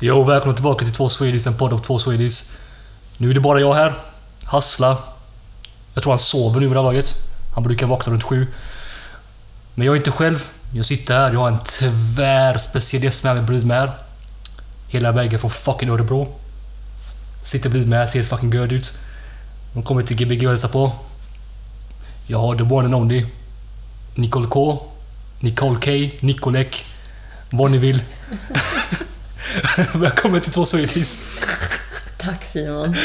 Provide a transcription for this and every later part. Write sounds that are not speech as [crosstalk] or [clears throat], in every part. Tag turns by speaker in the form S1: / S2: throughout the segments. S1: Jo, välkomna tillbaka till två Swedish, en podd av två Swedish. Nu är det bara jag här. Hassla. Jag tror han sover nu vid det här laget. Han brukar vakna runt sju. Men jag är inte själv. Jag sitter här, jag har en tvärspeciell gäst med mig bredvid mig här. Hela vägen från fucking Örebro. Sitter bredvid mig här, ser helt fucking göd ut. De kommer till Gbg och hälsar på. Jag har the one and only. Nicole K. Nicole K. Nicolek. Vad ni vill. [laughs] Välkommen till Två Swedish.
S2: Tack Simon.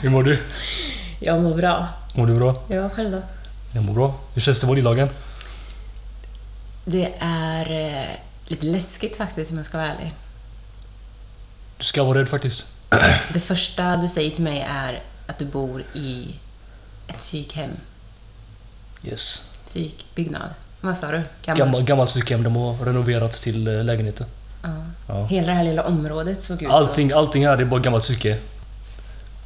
S1: Hur mår du?
S2: Jag mår bra.
S1: Mår du bra?
S2: Jag själv då?
S1: Jag mår bra. Hur känns det på lillagen?
S2: Det är eh, lite läskigt faktiskt om jag ska vara ärlig.
S1: Du ska vara rädd faktiskt.
S2: Det första du säger till mig är att du bor i ett psykhem.
S1: Yes.
S2: Psykbyggnad. Vad sa du? Gammal?
S1: Gammal, gammalt psykhem. De har renoverat till eh, lägenheter.
S2: Ja.
S1: Ja.
S2: Hela det här lilla området såg ut
S1: Allting, allting här det är bara gammalt psyke.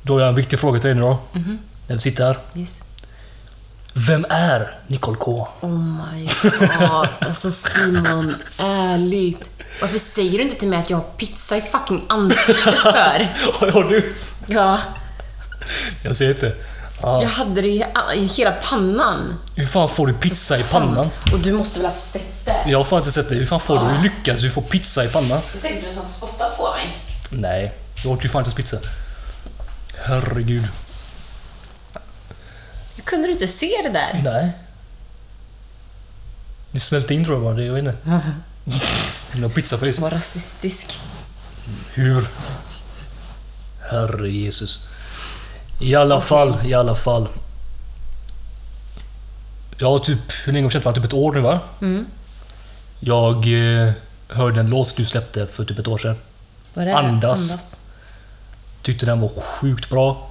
S1: Då har jag en viktig fråga till dig nu då. När vi sitter här.
S2: och- Yes.
S1: Vem är Nicole K? [laughs]
S2: Oh my god. Alltså Simon, ärligt. Varför säger du inte till mig att jag har pizza i fucking ansiktet för?
S1: Har du?
S2: [laughs] Ja.
S1: Jag ser inte. Ja.
S2: Jag hade det i, i hela pannan.
S1: Hur fan får du pizza i pannan?
S2: Och du måste väl ha sett det?
S1: Jag har fan inte sett det. Hur fan får du? Hur lyckas du få pizza i pannan?
S2: Det är säkert du som spottar på mig.
S1: Nej, jag åt ju fan inte ens pizza. Herregud.
S2: Kunde du inte se det där?
S1: Nej. Det smälte in tror jag bara. Det- Jag vet inte. Det var pizzafris.
S2: Vad rasistisk.
S1: Hur? Herre Jesus. I alla fall, i alla fall. Jag har typ, hur länge har vi känt varandra? Typ ett år nu va? Jag eh, hörde en låt du släppte för typ ett år sedan.
S2: Var är
S1: Andas. Tyckte den var sjukt bra.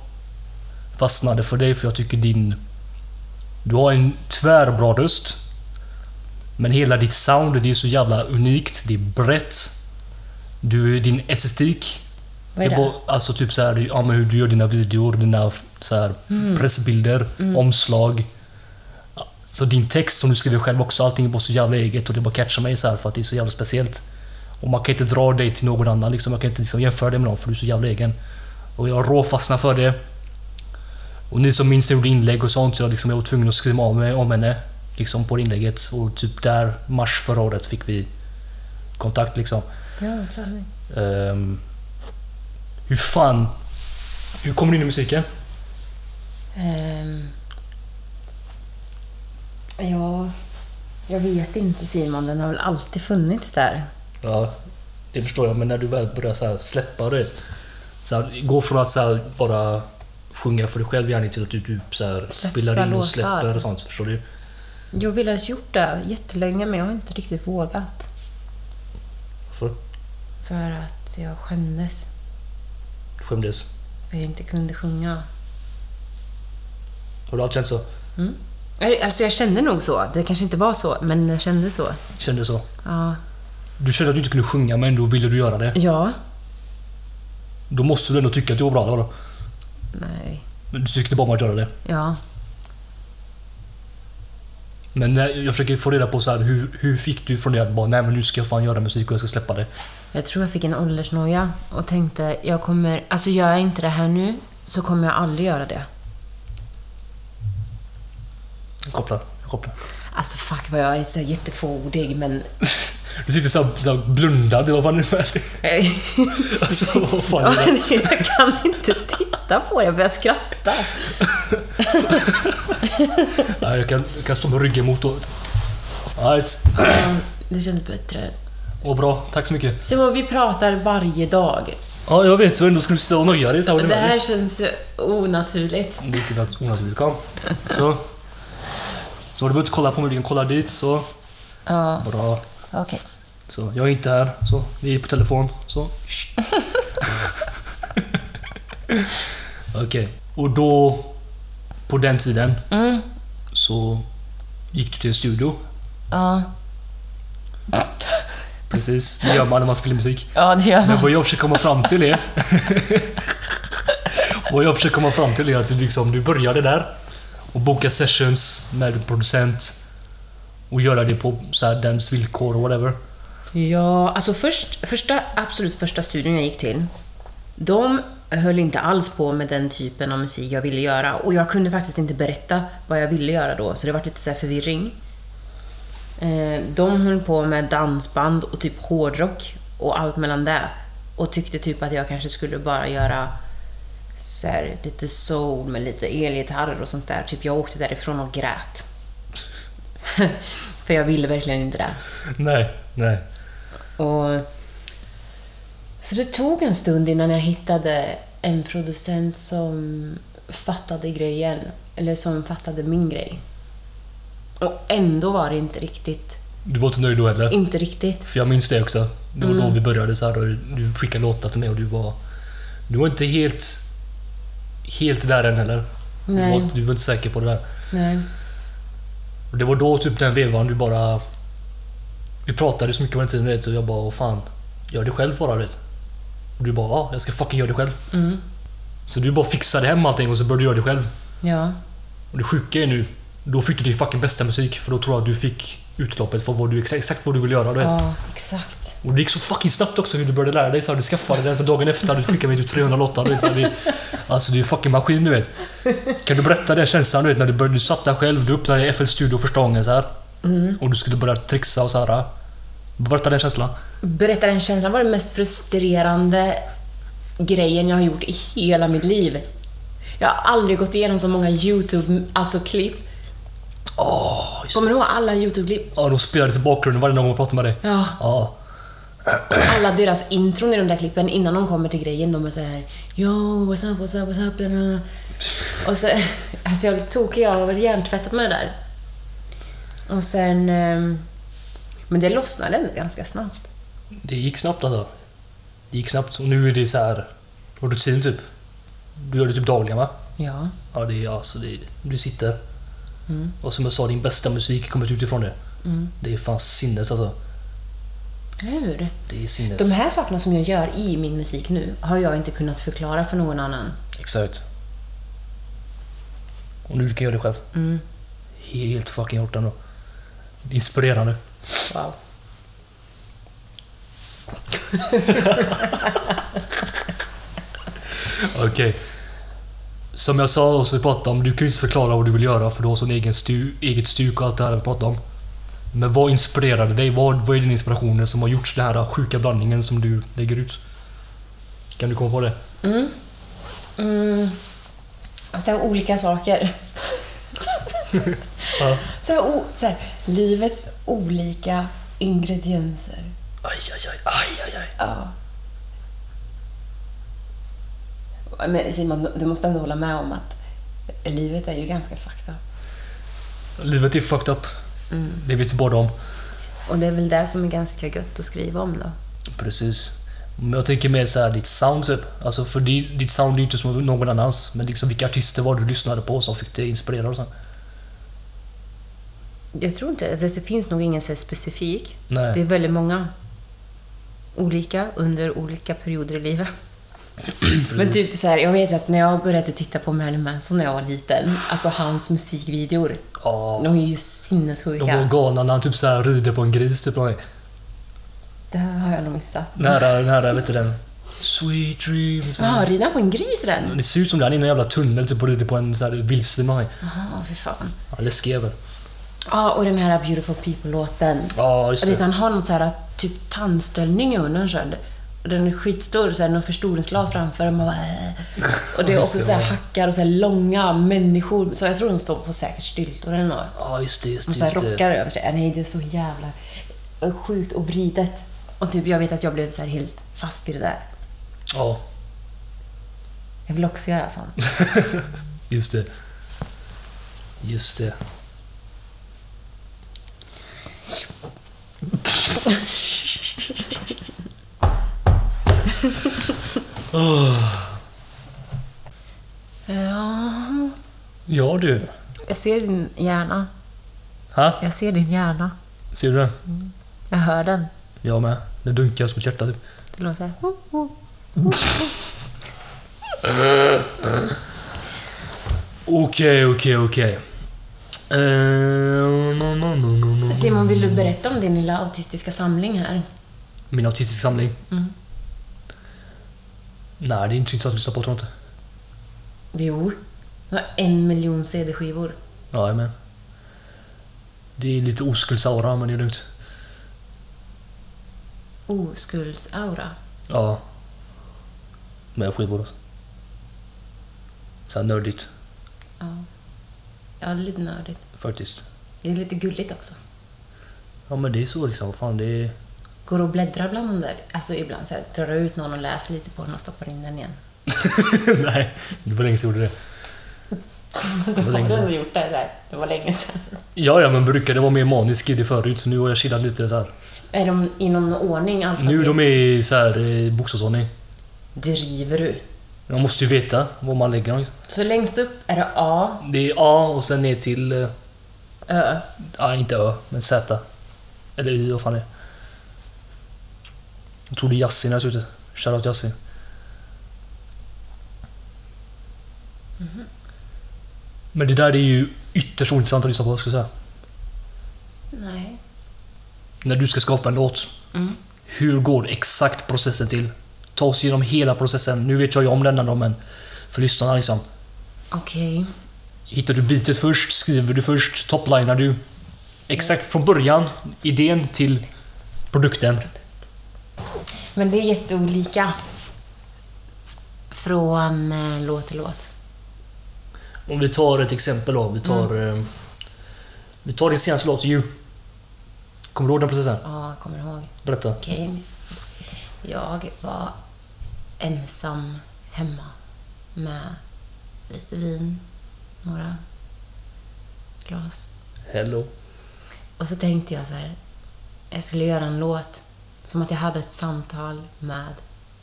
S1: Fastnade för dig för jag tycker din... Du har en tvärbra röst. Men hela ditt sound, det är så jävla unikt. Det är brett. Du, din estetik.
S2: Vad är det?
S1: bara- alltså typ så här, ja, men hur du gör dina videor, dina så här,
S2: Mm.
S1: pressbilder, omslag. Ja, Så din text som du skriver själv också, allting är bara så jävla eget och det bara catchar mig så här för att det är så jävla speciellt. Och man kan inte dra dig till någon annan liksom. Jag kan inte liksom jämföra dig med någon för du är så jävla egen. Och jag råfastnar för det. Och ni som minns när jag gjorde inlägg och sånt, så jag, liksom, jag var tvungen att skriva av mig om henne. Liksom på det inlägget. Och typ där, mars förra året, fick vi kontakt liksom.
S2: Ja, sanning.
S1: Ehm, hur fan... Hur kom du in i musiken?
S2: Ehm. ja, jag vet inte Simon. Den har väl alltid funnits där.
S1: Ja, det förstår jag. Men när du väl börjar så här släppa det. Så här, gå från att så här bara sjunga för dig själv gärna till att du typ så här
S2: Släppa
S1: spelar in
S2: låtar.
S1: och släpper och sånt. Förstår du?
S2: Jag ville ha gjort det jättelänge men jag har inte riktigt vågat.
S1: Varför?
S2: För att jag skämdes.
S1: Du skämdes.
S2: För jag inte kunde sjunga.
S1: Har du alltid känt så?
S2: Nej, Alltså jag kände nog så. Det kanske inte var så, men jag kände så.
S1: Kände så?
S2: Ja.
S1: Du kände att du inte kunde sjunga men ändå ville du göra det.
S2: Ja.
S1: Då måste du ändå tycka att du var bra eller vadå?
S2: Nej.
S1: Du tyckte bara om att göra det.
S2: Ja.
S1: Men när jag försöker få reda på så här, hur, hur fick du från det att bara nej men nu ska jag fan göra musik och jag ska släppa det.
S2: Jag tror jag fick en åldersnoja och tänkte, jag kommer, alltså gör jag inte det här nu så kommer jag aldrig göra det.
S1: Jag kopplar. Jag kopplar.
S2: Alltså fuck vad jag är så jättefåordig men...
S1: Du sitter såhär så här blundad. Vad fan är det med [laughs] Alltså vad fan är det?
S2: [laughs] jag kan inte titta på det, jag
S1: [clears throat]
S2: börjar skratta.
S1: Nej, jag, kan, jag kan stå med ryggen mot och... Alright.
S2: Men Det känns bättre.
S1: Och bra, tack så mycket.
S2: Simon, vi pratar varje dag.
S1: Ja, jag vet. Så ändå ska du sitta och nöja dig så här.
S2: Det här känns onaturligt.
S1: Lite nat- onaturligt. Kom. Så. Så har du behövt kolla på mig. Du kan kolla dit. Så.
S2: Ja,
S1: Bra.
S2: okej.
S1: Så, jag är inte här. Så, vi är på telefon. Så. Shh. Okej. Och då, på den tiden,
S2: Mm,
S1: så gick du till en studio.
S2: ja.
S1: Precis, det gör man när man spelar musik.
S2: ja, det gör
S1: Men
S2: man.
S1: vad jag försöker komma fram till är... [laughs] vad jag försöker komma fram till är att du liksom, du började där och boka sessions med producent och göra det på så här, dens villkor och whatever.
S2: Ja, alltså först, första, absolut första studion jag gick till, de höll inte alls på med den typen av musik jag ville göra. Och jag kunde faktiskt inte berätta vad jag ville göra då, så det var lite så här förvirring. Eh, De höll på med dansband och typ hårdrock och allt mellan det. Och tyckte typ att jag kanske skulle bara göra så här, lite soul med lite elgitarrer och sånt där. Typ jag åkte därifrån och grät. [laughs] För jag ville verkligen inte det.
S1: Nej, nej.
S2: Och, så det tog en stund innan jag hittade en producent som fattade grejen, eller som fattade min grej. Och ändå var det inte riktigt.
S1: Du var inte nöjd då heller?
S2: Inte riktigt.
S1: För jag minns det också. Det var då vi började så här och du skickade låtar till mig och du var... Du var inte helt... Helt där än heller. Du,
S2: Nej.
S1: var, du var inte säker på det där.
S2: Nej.
S1: Och det var då typ den vevan du bara... Vi pratade så mycket på den tiden vet, du, och jag bara, vad fan. Gör det själv bara vet. Och du bara, ja, jag ska fucking göra det själv.
S2: Mm.
S1: Så du bara fixade hem allting och så började du göra det själv.
S2: Ja.
S1: Och det sjuka är nu, då fick du din fucking bästa musik. För då tror jag att du fick utloppet för vad du, exa- exakt vad du vill göra. Du vet.
S2: Ja, exakt.
S1: Och det gick så fucking snabbt också hur du började lära dig. Så här, du skaffade den, så dagen efter hade du skickat mig typ 300 låtar. Du vet, så här, det, alltså det är fucking maskin du vet. Kan du berätta den känslan du vet när du började, du satt där själv, du öppnade FL Studio första gången så här. Och du skulle börja trixa och så här. Berätta den känslan.
S2: Berätta den känslan var den mest frustrerande grejen jag har gjort i hela mitt liv. Jag har aldrig gått igenom så många YouTube-klipp. Alltså, klipp.
S1: Åh, just det.
S2: Kommer du ihåg alla YouTube-klipp?
S1: Ja, de spelade i bakgrunden varje gång jag pratade med dig.
S2: Ja.
S1: Ja.
S2: alla deras intron i de där klippen innan de kommer till grejen, de är så här Yo, what's up, what's up, what's up? bla, bla, bla." Och så, [laughs] alltså jag blev tokig, jag har varit hjärntvättad med det där. Och sen... ehm, Men det lossnade ändå ganska snabbt.
S1: Det gick snabbt alltså. Det gick snabbt. Och nu är det så här rutin typ. Du gör det typ dagligen va?
S2: Ja.
S1: Ja, det är alltså det, du sitter.
S2: Mm.
S1: Och som jag sa, din bästa musik har kommit utifrån det. Det är fan sinnes alltså.
S2: Hur?
S1: Det är sinnes.
S2: De här sakerna som jag gör i min musik nu har jag inte kunnat förklara för någon annan.
S1: Exakt. Och nu kan jag göra det själv.
S2: Mm.
S1: Helt fucking hårt ändå. Inspirerande.
S2: Wow.
S1: Okej. Som jag sa och som vi pratade om, du kan ju inte förklara vad du vill göra för du har sån egen stu, eget stuk och allt det här vi pratade om. Men vad inspirerade dig? Vad, vad är dina inspirationer som har gjort den här sjuka blandningen som du lägger ut? Kan du komma på det?
S2: Mm. Mm. Alltså olika saker.
S1: Ja.
S2: Så här, o- så här, livets olika ingredienser.
S1: Aj, aj, aj, aj, aj, aj.
S2: Ja. Men Simon, du måste ändå hålla med om att livet är ju ganska fucked up.
S1: Livet är fucked up.
S2: Mm.
S1: Det vet vi båda om.
S2: Och det är väl det som är ganska gött att skriva om då.
S1: Precis. Men jag tänker mer så här ditt sound typ. Alltså för di- ditt sound är ju inte som någon annans. Men liksom vilka artister var det du lyssnade på som fick dig inspirerad och så?
S2: Jag tror inte, det finns nog ingen så här specifik.
S1: Nej.
S2: Det är väldigt många olika under olika perioder i livet. Men typ så här, jag vet att när jag började titta på Marilyn Manson när jag var liten, alltså hans musikvideor,
S1: Ja.
S2: de är ju
S1: De var
S2: sinnessjuka.
S1: galna när han typ så här rider på en gris typ. eller någonting.
S2: Det här har jag nog missat.
S1: Nära, nära, vet du den? Sweet dreams.
S2: Jaha, rida på en gris den?
S1: Det ser ut som det, han är i en jävla tunnel typ och rider på en så här vildsvin. eller någonting.
S2: Jaha, fy fan.
S1: Ja, läskig jävel.
S2: Ja, och den här Beautiful People-låten.
S1: Ja, just
S2: Jag vet,
S1: det.
S2: han har någon så här typ tandställning i munnen så här. Och Den är skitstor, så här, någon förstoringsglas framför. Och, man bara, äh. och det är
S1: Ja,
S2: också
S1: just
S2: så här,
S1: det, ja.
S2: hackar och så här, långa människor. Så jag tror de står på säkert styltor eller något.
S1: Ja, just det. Just
S2: Och
S1: det,
S2: så här,
S1: just Typ det.
S2: rockar över sig. Äh, Nej, det är så jävla sjukt och vridet. Och typ, jag vet att jag blev så här helt fast i det där.
S1: Ja,
S2: Jag vill också göra sånt.
S1: just det. Just det.
S2: Ja,
S1: Ja du.
S2: jag ser din hjärna.
S1: Ha?
S2: Jag ser din hjärna.
S1: Ser du den?
S2: Jag hör den.
S1: Jag med. Det dunkar som ett hjärta typ.
S2: Det låter såhär...
S1: Okej, okej, okej. Eh, no, no, no, no, no.
S2: Simon, vill du berätta om din lilla autistiska samling här?
S1: Min autistiska samling. Nej, det är inte så intressant att lyssna på tror jag inte.
S2: Jo. Jag har en miljon CD-skivor.
S1: Ja, men Det är lite oskuldsaura, men det är lugnt.
S2: Oskuld-aura.
S1: Ja. Med skivor alltså. Så här nördigt,
S2: Ja. ja, det är lite nördigt.
S1: faktiskt.
S2: Det är lite gulligt också.
S1: Ja, men det är så liksom. Vad Fan, det är... [laughs]
S2: Går och bläddrar bland de där. Alltså ibland så här, drar jag ut någon och läser lite på den och stoppar in den igen.
S1: Nej, det var länge sedan jag gjorde det.
S2: Du
S1: var länge sedan.
S2: har gjort det där. Det var länge sedan.
S1: Ja, ja, men brukade vara mer manisk i det förut, så nu har jag chillat lite så här.
S2: Är de i någon ordning? alfabet?
S1: Nu de är i så här eh, bokstavsordning.
S2: Driver du?
S1: Man måste ju veta var man lägger dem.
S2: Så längst upp är det A,
S1: Det är A och sen ner till... eh,
S2: Ö.
S1: Ja, inte Ö, men Z. Eller Y, vad fan det är. Jag tror det är Yasin här ute. Shoutout Yasin. Men det där är ju ytterst ointressant att lyssna på, ska jag säga.
S2: Nej.
S1: När du ska skapa en låt.
S2: Mm.
S1: Hur går exakt processen till? Ta oss igenom hela processen. Nu vet jag ju om denna då, men för lyssnarna liksom.
S2: Okej.
S1: Hittar du bitet först? Skriver du först? Toplinar du? Exakt från början, idén till produkten.
S2: Men det är jätteolika. Från eh, låt till låt.
S1: Om vi tar ett exempel då. Vi tar, eh, vi tar din senaste låt, You. Kommer du ihåg den processen?
S2: Ja, jag kommer ihåg.
S1: Berätta.
S2: Okej. Jag var ensam hemma med lite vin, några glas.
S1: Hello.
S2: Och så tänkte jag så här, jag skulle göra en låt som att jag hade ett samtal med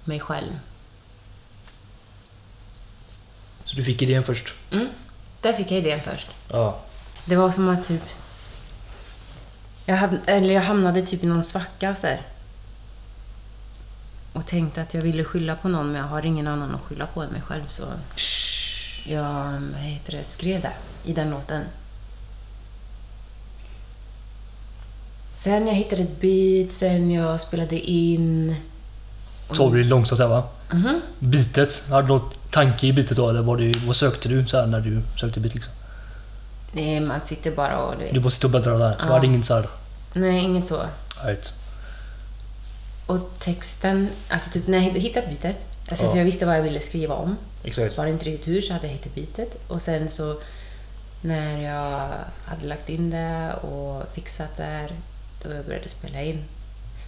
S2: mig själv.
S1: Så du fick idén först?
S2: Mm. Där fick jag idén först.
S1: Ja.
S2: Det var som att typ... Jag, hade, eller jag hamnade typ i någon svacka så här. Och tänkte att jag ville skylla på någon, men jag har ingen annan att skylla på än mig själv. Så jag mm, vad heter det, skrev det i den låten. Sen jag hittade ett beat, sen jag spelade in...
S1: Tog du det långsamt här va?
S2: Mhm.
S1: Bitet, hade du någon tanke i bitet då eller var det, vad sökte du så här, när du sökte bit liksom?
S2: Nej, man sitter bara och... Du
S1: Du
S2: vet.
S1: bara sitter och bläddrar där. Du
S2: Ja.
S1: hade ingen såhär...
S2: Nej, inget så.
S1: Right.
S2: Och texten, alltså typ när jag hittat bitet, alltså
S1: Ja.
S2: för jag visste vad jag ville skriva om.
S1: Exakt.
S2: Var det inte riktigt tur så hade jag hittat bitet. Och sen så när jag hade lagt in det och fixat där, då jag började spela in.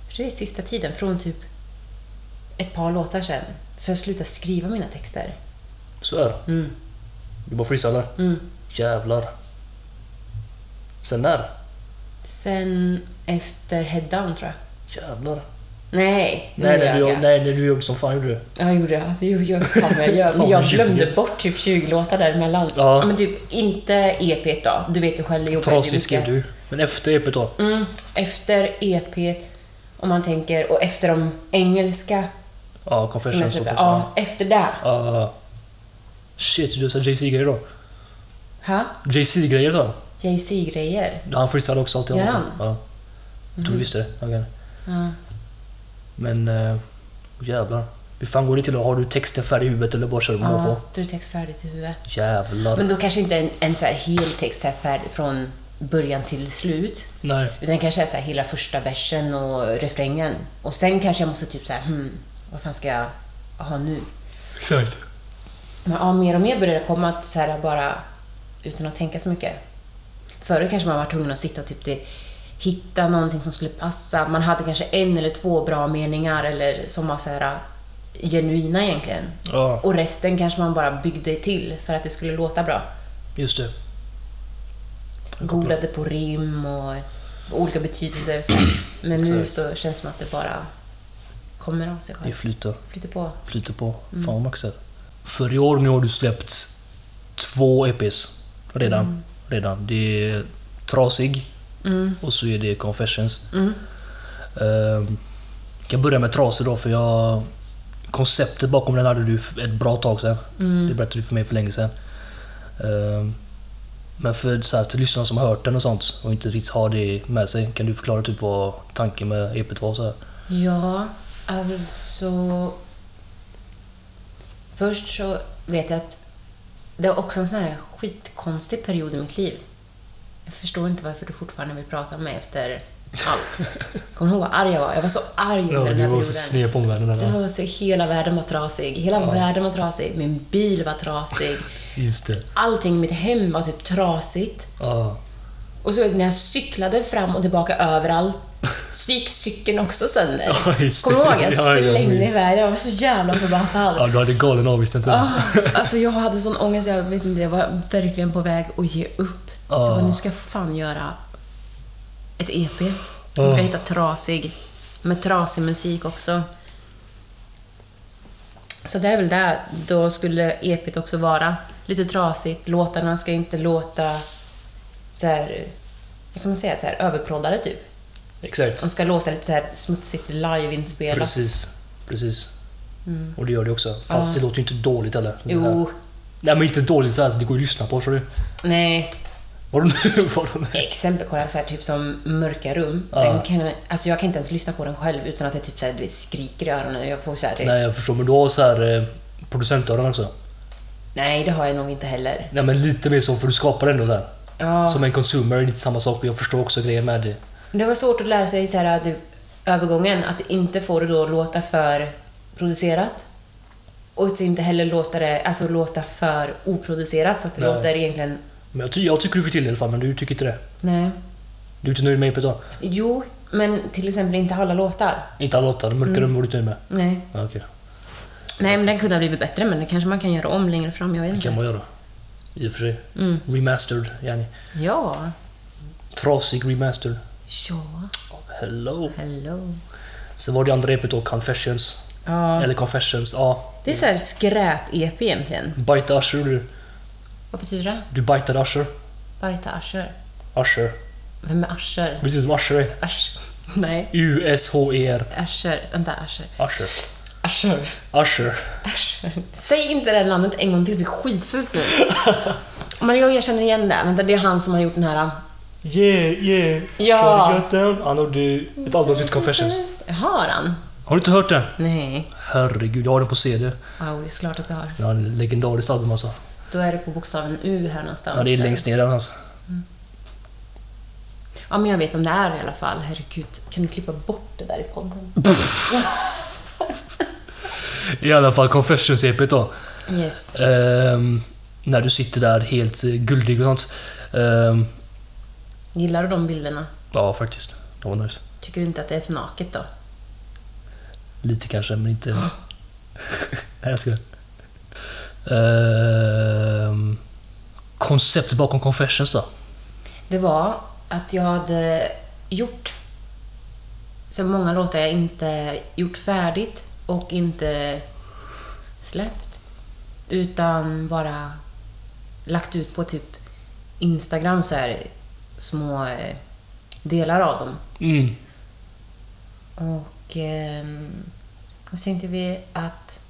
S2: För det är sista tiden, från typ ett par låtar sen, så jag slutade skriva mina texter.
S1: Så är det.
S2: Mm.
S1: Du bara freestylar.
S2: Mm.
S1: Jävlar. Sen när?
S2: Sen efter Head Down tror jag.
S1: Jävlar.
S2: Nej, nu
S1: Nej,
S2: ljög
S1: när du,
S2: jag.
S1: nej, när du gjorde som fan gjorde du.
S2: Ja, gjorde jag. Det gjorde jag. Fan vad jag gör.
S1: Fan
S2: Men
S1: vad
S2: jag
S1: jag
S2: glömde
S1: ljuger.
S2: bort typ 20 låtar däremellan.
S1: Ja.
S2: Men typ inte EP då. Du vet ju själv, det jobbar ju
S1: Trasigt
S2: mycket.
S1: skrev du. Men efter EPet då?
S2: Mm. Efter EP, om man tänker, och efter de engelska
S1: Ja,
S2: som jag
S1: Confessions och
S2: släppte. Ja, efter det.
S1: Ja. shit, du sa JC-grejer då?
S2: Ha?
S1: JC-grejer då?
S2: Jay-Z-grejer.
S1: Han freestylade också alltid.
S2: Gör
S1: om det.
S2: han? Mm.
S1: Ja. Jag tror visst det. Okej.
S2: Ja.
S1: Men... Eh, jävlar. Hur fan går det till då? Har du texten färdig i huvudet eller bara kör du
S2: ja.
S1: måfå?
S2: Då är det text färdigt i huvudet.
S1: Jävlar.
S2: Men då kanske inte en, en så här hel text så här färdig från början till slut.
S1: Nej.
S2: Utan kanske är så här hela första versen och refrängen. Och sen kanske jag måste typ så här, hmm, vad fan ska jag ha nu?
S1: Exakt.
S2: Men ja, mer och mer börjar det komma att så här bara utan att tänka så mycket. Förut kanske man var tvungen att sitta och typ det, hitta någonting som skulle passa. Man hade kanske en eller två bra meningar eller som var så här genuina egentligen.
S1: Ja,
S2: Och resten kanske man bara byggde till för att det skulle låta bra.
S1: just det.
S2: Googlade på rim och olika betydelser. och Så. Men nu så känns det som att det bara kommer av sig
S1: Det
S2: själv.
S1: flyter.
S2: Flyter på.
S1: Flyter på.
S2: Mm.
S1: Fan vad maxat. För i år nu har du släppt två EPs. Redan.
S2: Mm.
S1: Redan. Det är Trasig och så är det Confessions.
S2: Mm.
S1: Ehm, jag kan börja med Trasig då för jag... Konceptet bakom den hade du för ett bra tag sedan.
S2: Mm.
S1: Det berättade du för mig för länge sedan. Ehm, men för, så här, till lyssnarna som har hört den och sånt och inte riktigt har det med sig, kan du förklara typ vad tanken med EPet var? Så här?
S2: Ja, alltså... Först så vet jag att det var också en sån här skitkonstig period i mitt liv. Jag förstår inte varför du fortfarande vill prata med mig efter
S1: [laughs]
S2: allt. Kommer du ihåg vad arg jag var? Jag var så arg under
S1: Ja,
S2: den här
S1: du var
S2: perioden.
S1: så sned på omvärlden.
S2: Så jag
S1: Eller?
S2: var så, hela världen var trasig. Hela världen var trasig. Min bil var
S1: [laughs]
S2: trasig.
S1: Just det.
S2: Allting i mitt hem var typ trasigt.
S1: Ja.
S2: Och så när jag cyklade fram och tillbaka överallt så gick cykeln också sönder.
S1: Ja, just det.
S2: Kommer du ihåg? Jag
S1: Ja, ja,
S2: slängde
S1: visst.
S2: iväg Jag var så jävla
S1: ja,
S2: förbannad.
S1: du hade galen avist den tiden.
S2: Ah, alltså jag hade sån ångest, jag vet inte, jag var verkligen på väg att ge upp. Så jag bara,
S1: Ah.
S2: nu ska jag fan göra ett EP. Nu ska jag
S1: Ah.
S2: hitta trasig, med trasig musik också. Så det är väl där, då skulle EPet också vara lite trasigt. Låtarna ska inte låta så här, vad ska man säga, så här överproddade typ.
S1: Exakt.
S2: De ska låta lite så här smutsigt liveinspelat.
S1: Precis. Precis. Och det gör det också. Fast
S2: Mm. Ja.
S1: det låter ju inte dåligt heller. Det här.
S2: Jo,
S1: Nej, men inte dåligt så här att det går att lyssna på. Så det...
S2: nej.
S1: Var de [laughs] var de
S2: Exempel kolla så här, typ som Mörka rum.
S1: Ja.
S2: Den kan, alltså jag kan inte ens lyssna på den själv utan att det typ så här, det skriker i öronen. Jag får så här, det, nej.
S1: Nej, jag förstår. Men du har så här eh, producentöron också.
S2: det har jag nog inte heller.
S1: Nej, men lite mer så, för du skapar ändå så här.
S2: Ja.
S1: Som en consumer, det är inte samma sak. Jag förstår också grejen med det.
S2: Det var svårt att lära sig så här, du, övergången, att inte få det då låta för producerat. Och att inte heller låta det alltså, låta för oproducerat så att det
S1: Nej.
S2: låter egentligen...
S1: Men jag, ty- jag tycker du fick till det i alla fall, men du tycker inte det.
S2: Nej.
S1: Du är inte nöjd med EPet då?
S2: Jo, men till exempel inte alla låtar.
S1: Inte alla låtar, Mörka
S2: Mm.
S1: rum var du inte nöjd med?
S2: Nej.
S1: Ja, okej.
S2: Mm. Nej, men den kunde ha blivit bättre, men det kanske man kan göra om längre fram. Jag vet
S1: Det kan
S2: inte.
S1: man göra. I och för sig.
S2: Mm.
S1: Remastered, yani.
S2: Ja.
S1: Trasig remastered.
S2: Ja.
S1: Hello!
S2: Hello.
S1: Sen var det andra EPet då, Confessions.
S2: Ja.
S1: Eller Confessions, ja.
S2: Det är så här skräp-EP egentligen.
S1: Bite Usher, du.
S2: Vad betyder det?
S1: Du bitade Usher.
S2: Bajta Asher.
S1: Usher.
S2: Vem är Asher?
S1: Precis som Usher eh. är.
S2: Ash... [laughs] Nej.
S1: U-S-H-E-R.
S2: Asher. Vänta, Asher.
S1: E Usher.
S2: Asher.
S1: Usher.
S2: Asher. Säg inte det här namnet en gång till, det blir skitfult [laughs] nu. Men jag jag känner igen det. Vänta, det är han som har gjort den här...
S1: Yeah, yeah.
S2: Ja.
S1: Shawty got down. Han gjorde ett album som heter Confessions.
S2: eh, Har han?
S1: Har du inte hört den?
S2: Mm. Nej.
S1: Herregud, jag har den på CD.
S2: Wow, det är klart att det har.
S1: Ja, det är ett legendariskt album alltså.
S2: Då är det på bokstaven U här någonstans.
S1: Ja, det är
S2: där.
S1: längst ner där alltså.
S2: Ja, men jag vet vem det är i alla fall. Herregud, kan du klippa bort det där i podden? [laughs]
S1: I alla fall Confessions-EPet då.
S2: Yes.
S1: Ehm, när du sitter där helt eh, guldig och sånt. Ehm,
S2: Gillar du de bilderna?
S1: ja, faktiskt. Det var nice.
S2: Tycker du inte att det är för naket då?
S1: Lite kanske, men [gasps] inte... Nej, jag skojar. Ehm, konceptet bakom Confessions då?
S2: Det var att jag hade gjort så många låtar jag inte gjort färdigt och inte släppt. Utan bara lagt ut på typ Instagram så här små eh, delar av dem.
S1: Mm.
S2: Och ehm, så tänkte vi att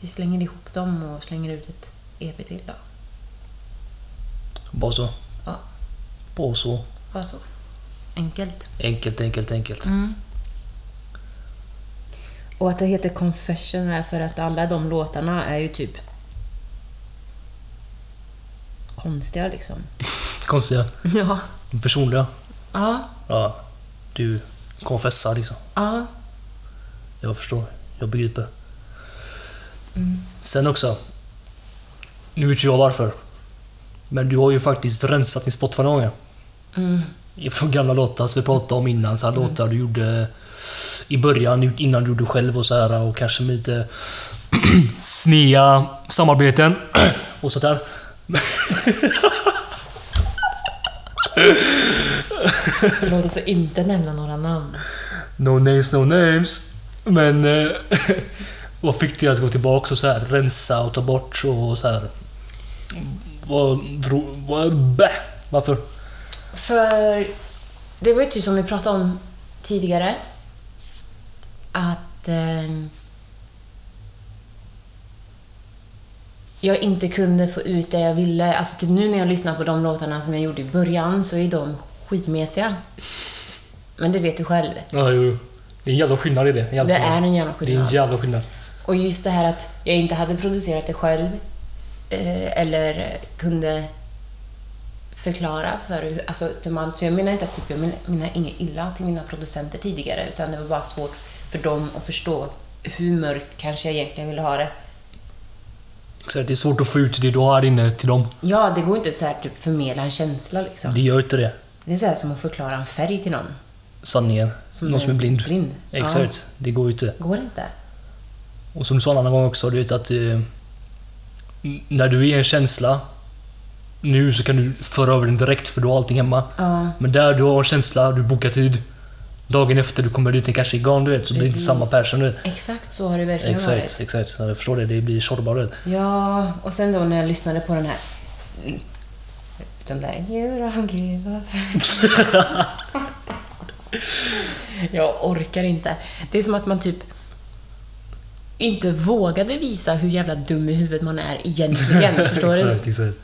S2: vi slänger ihop dem och slänger ut ett EP till då.
S1: Bara så.
S2: Ja,
S1: Bara så.
S2: bara så. Enkelt.
S1: Enkelt, enkelt, enkelt.
S2: Mm. Och att det heter Confession är för att alla de låtarna är ju typ konstiga liksom.
S1: Konstiga.
S2: Ja.
S1: Personliga.
S2: Ja.
S1: Ja. Du konfessar liksom.
S2: Ja.
S1: Jag förstår. Jag begriper.
S2: Mm.
S1: Sen också. Nu vet ju jag varför. Men du har ju faktiskt rensat din Spotify några gånger.
S2: Mm.
S1: Från gamla låtar som vi pratade om innan. Så här låtar du gjorde i början, innan du gjorde själv och så här. Och kanske med lite [clears throat] snea samarbeten [clears throat] och sånt där.
S2: Låt oss inte nämna några namn.
S1: No names, no names. Men... Eh, [laughs] vad fick dig att gå tillbaka och så här, rensa och ta bort och så här? Vad drog... Vad... Bä! Varför?
S2: För det var ju typ som vi pratade om tidigare. Att eh, jag inte kunde få ut det jag ville. Alltså typ nu när jag lyssnar på de låtarna som jag gjorde i början så är de skitmesiga. Men det vet du själv.
S1: Ja, jo, jo. Det är en jävla skillnad i det. En jävla
S2: Det
S1: skillnad.
S2: är en jävla
S1: Det är
S2: skillnad.
S1: en jävla skillnad.
S2: Och just det här att jag inte hade producerat det själv eh, eller kunde förklara för hur... Alltså, till man, så jag menar inte att typ, jag menar, menar inget illa till mina producenter tidigare utan det var bara svårt för dem att förstå hur mörkt kanske jag egentligen ville ha det.
S1: Så det är svårt att få ut det du har inne till dem.
S2: Ja, det går inte så här typ förmedla en känsla liksom.
S1: Det gör inte det.
S2: Det är så här som att förklara en färg till någon.
S1: Sanningen. Någon som är blind.
S2: blind.
S1: Exakt. Det går ju inte.
S2: Ja, går inte.
S1: Och som du sa en annan gång också, du vet att... Eh, när du är i en känsla nu så kan du föra över den direkt för du har allting hemma.
S2: Ja.
S1: Men där du har en känsla, du bokar tid. Dagen efter du kommer dit, den kanske är igång du vet, så blir det inte
S2: Precis.
S1: samma person du vet.
S2: Exakt så har det verkligen varit.
S1: Exakt, exakt. Så Jag förstår det, det blir Tjorba du vet.
S2: Ja, och sen då när jag lyssnade på den här... Den där... "You don't give up." jag orkar inte. Det är som att man typ inte vågade visa hur jävla dum i huvudet man är egentligen. förstår du?
S1: exakt, exakt.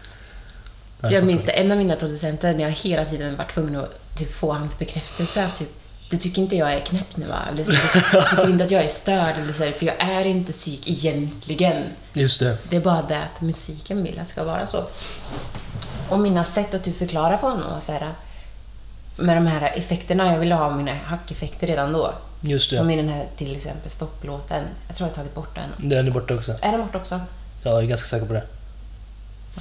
S1: Nej,
S2: Jag
S1: fattar.
S2: minns det, en av mina producenter, när jag hela tiden varit tvungen att typ, få hans bekräftelse. Typ, du tycker inte jag är knäpp nu va? Eller så, du tycker inte att jag är störd, eller så, här, för jag är inte psyk egentligen.
S1: Just det.
S2: Det är bara det att musiken vill att det ska vara så. Och mina sätt att typ förklara för honom var så här, med de här effekterna, jag ville ha mina hackeffekter redan då.
S1: Just det.
S2: Som i den här till exempel stopplåten. Jag tror jag har tagit bort den.
S1: Den är borta också.
S2: Är den borta också?
S1: Jag är ganska säker på det.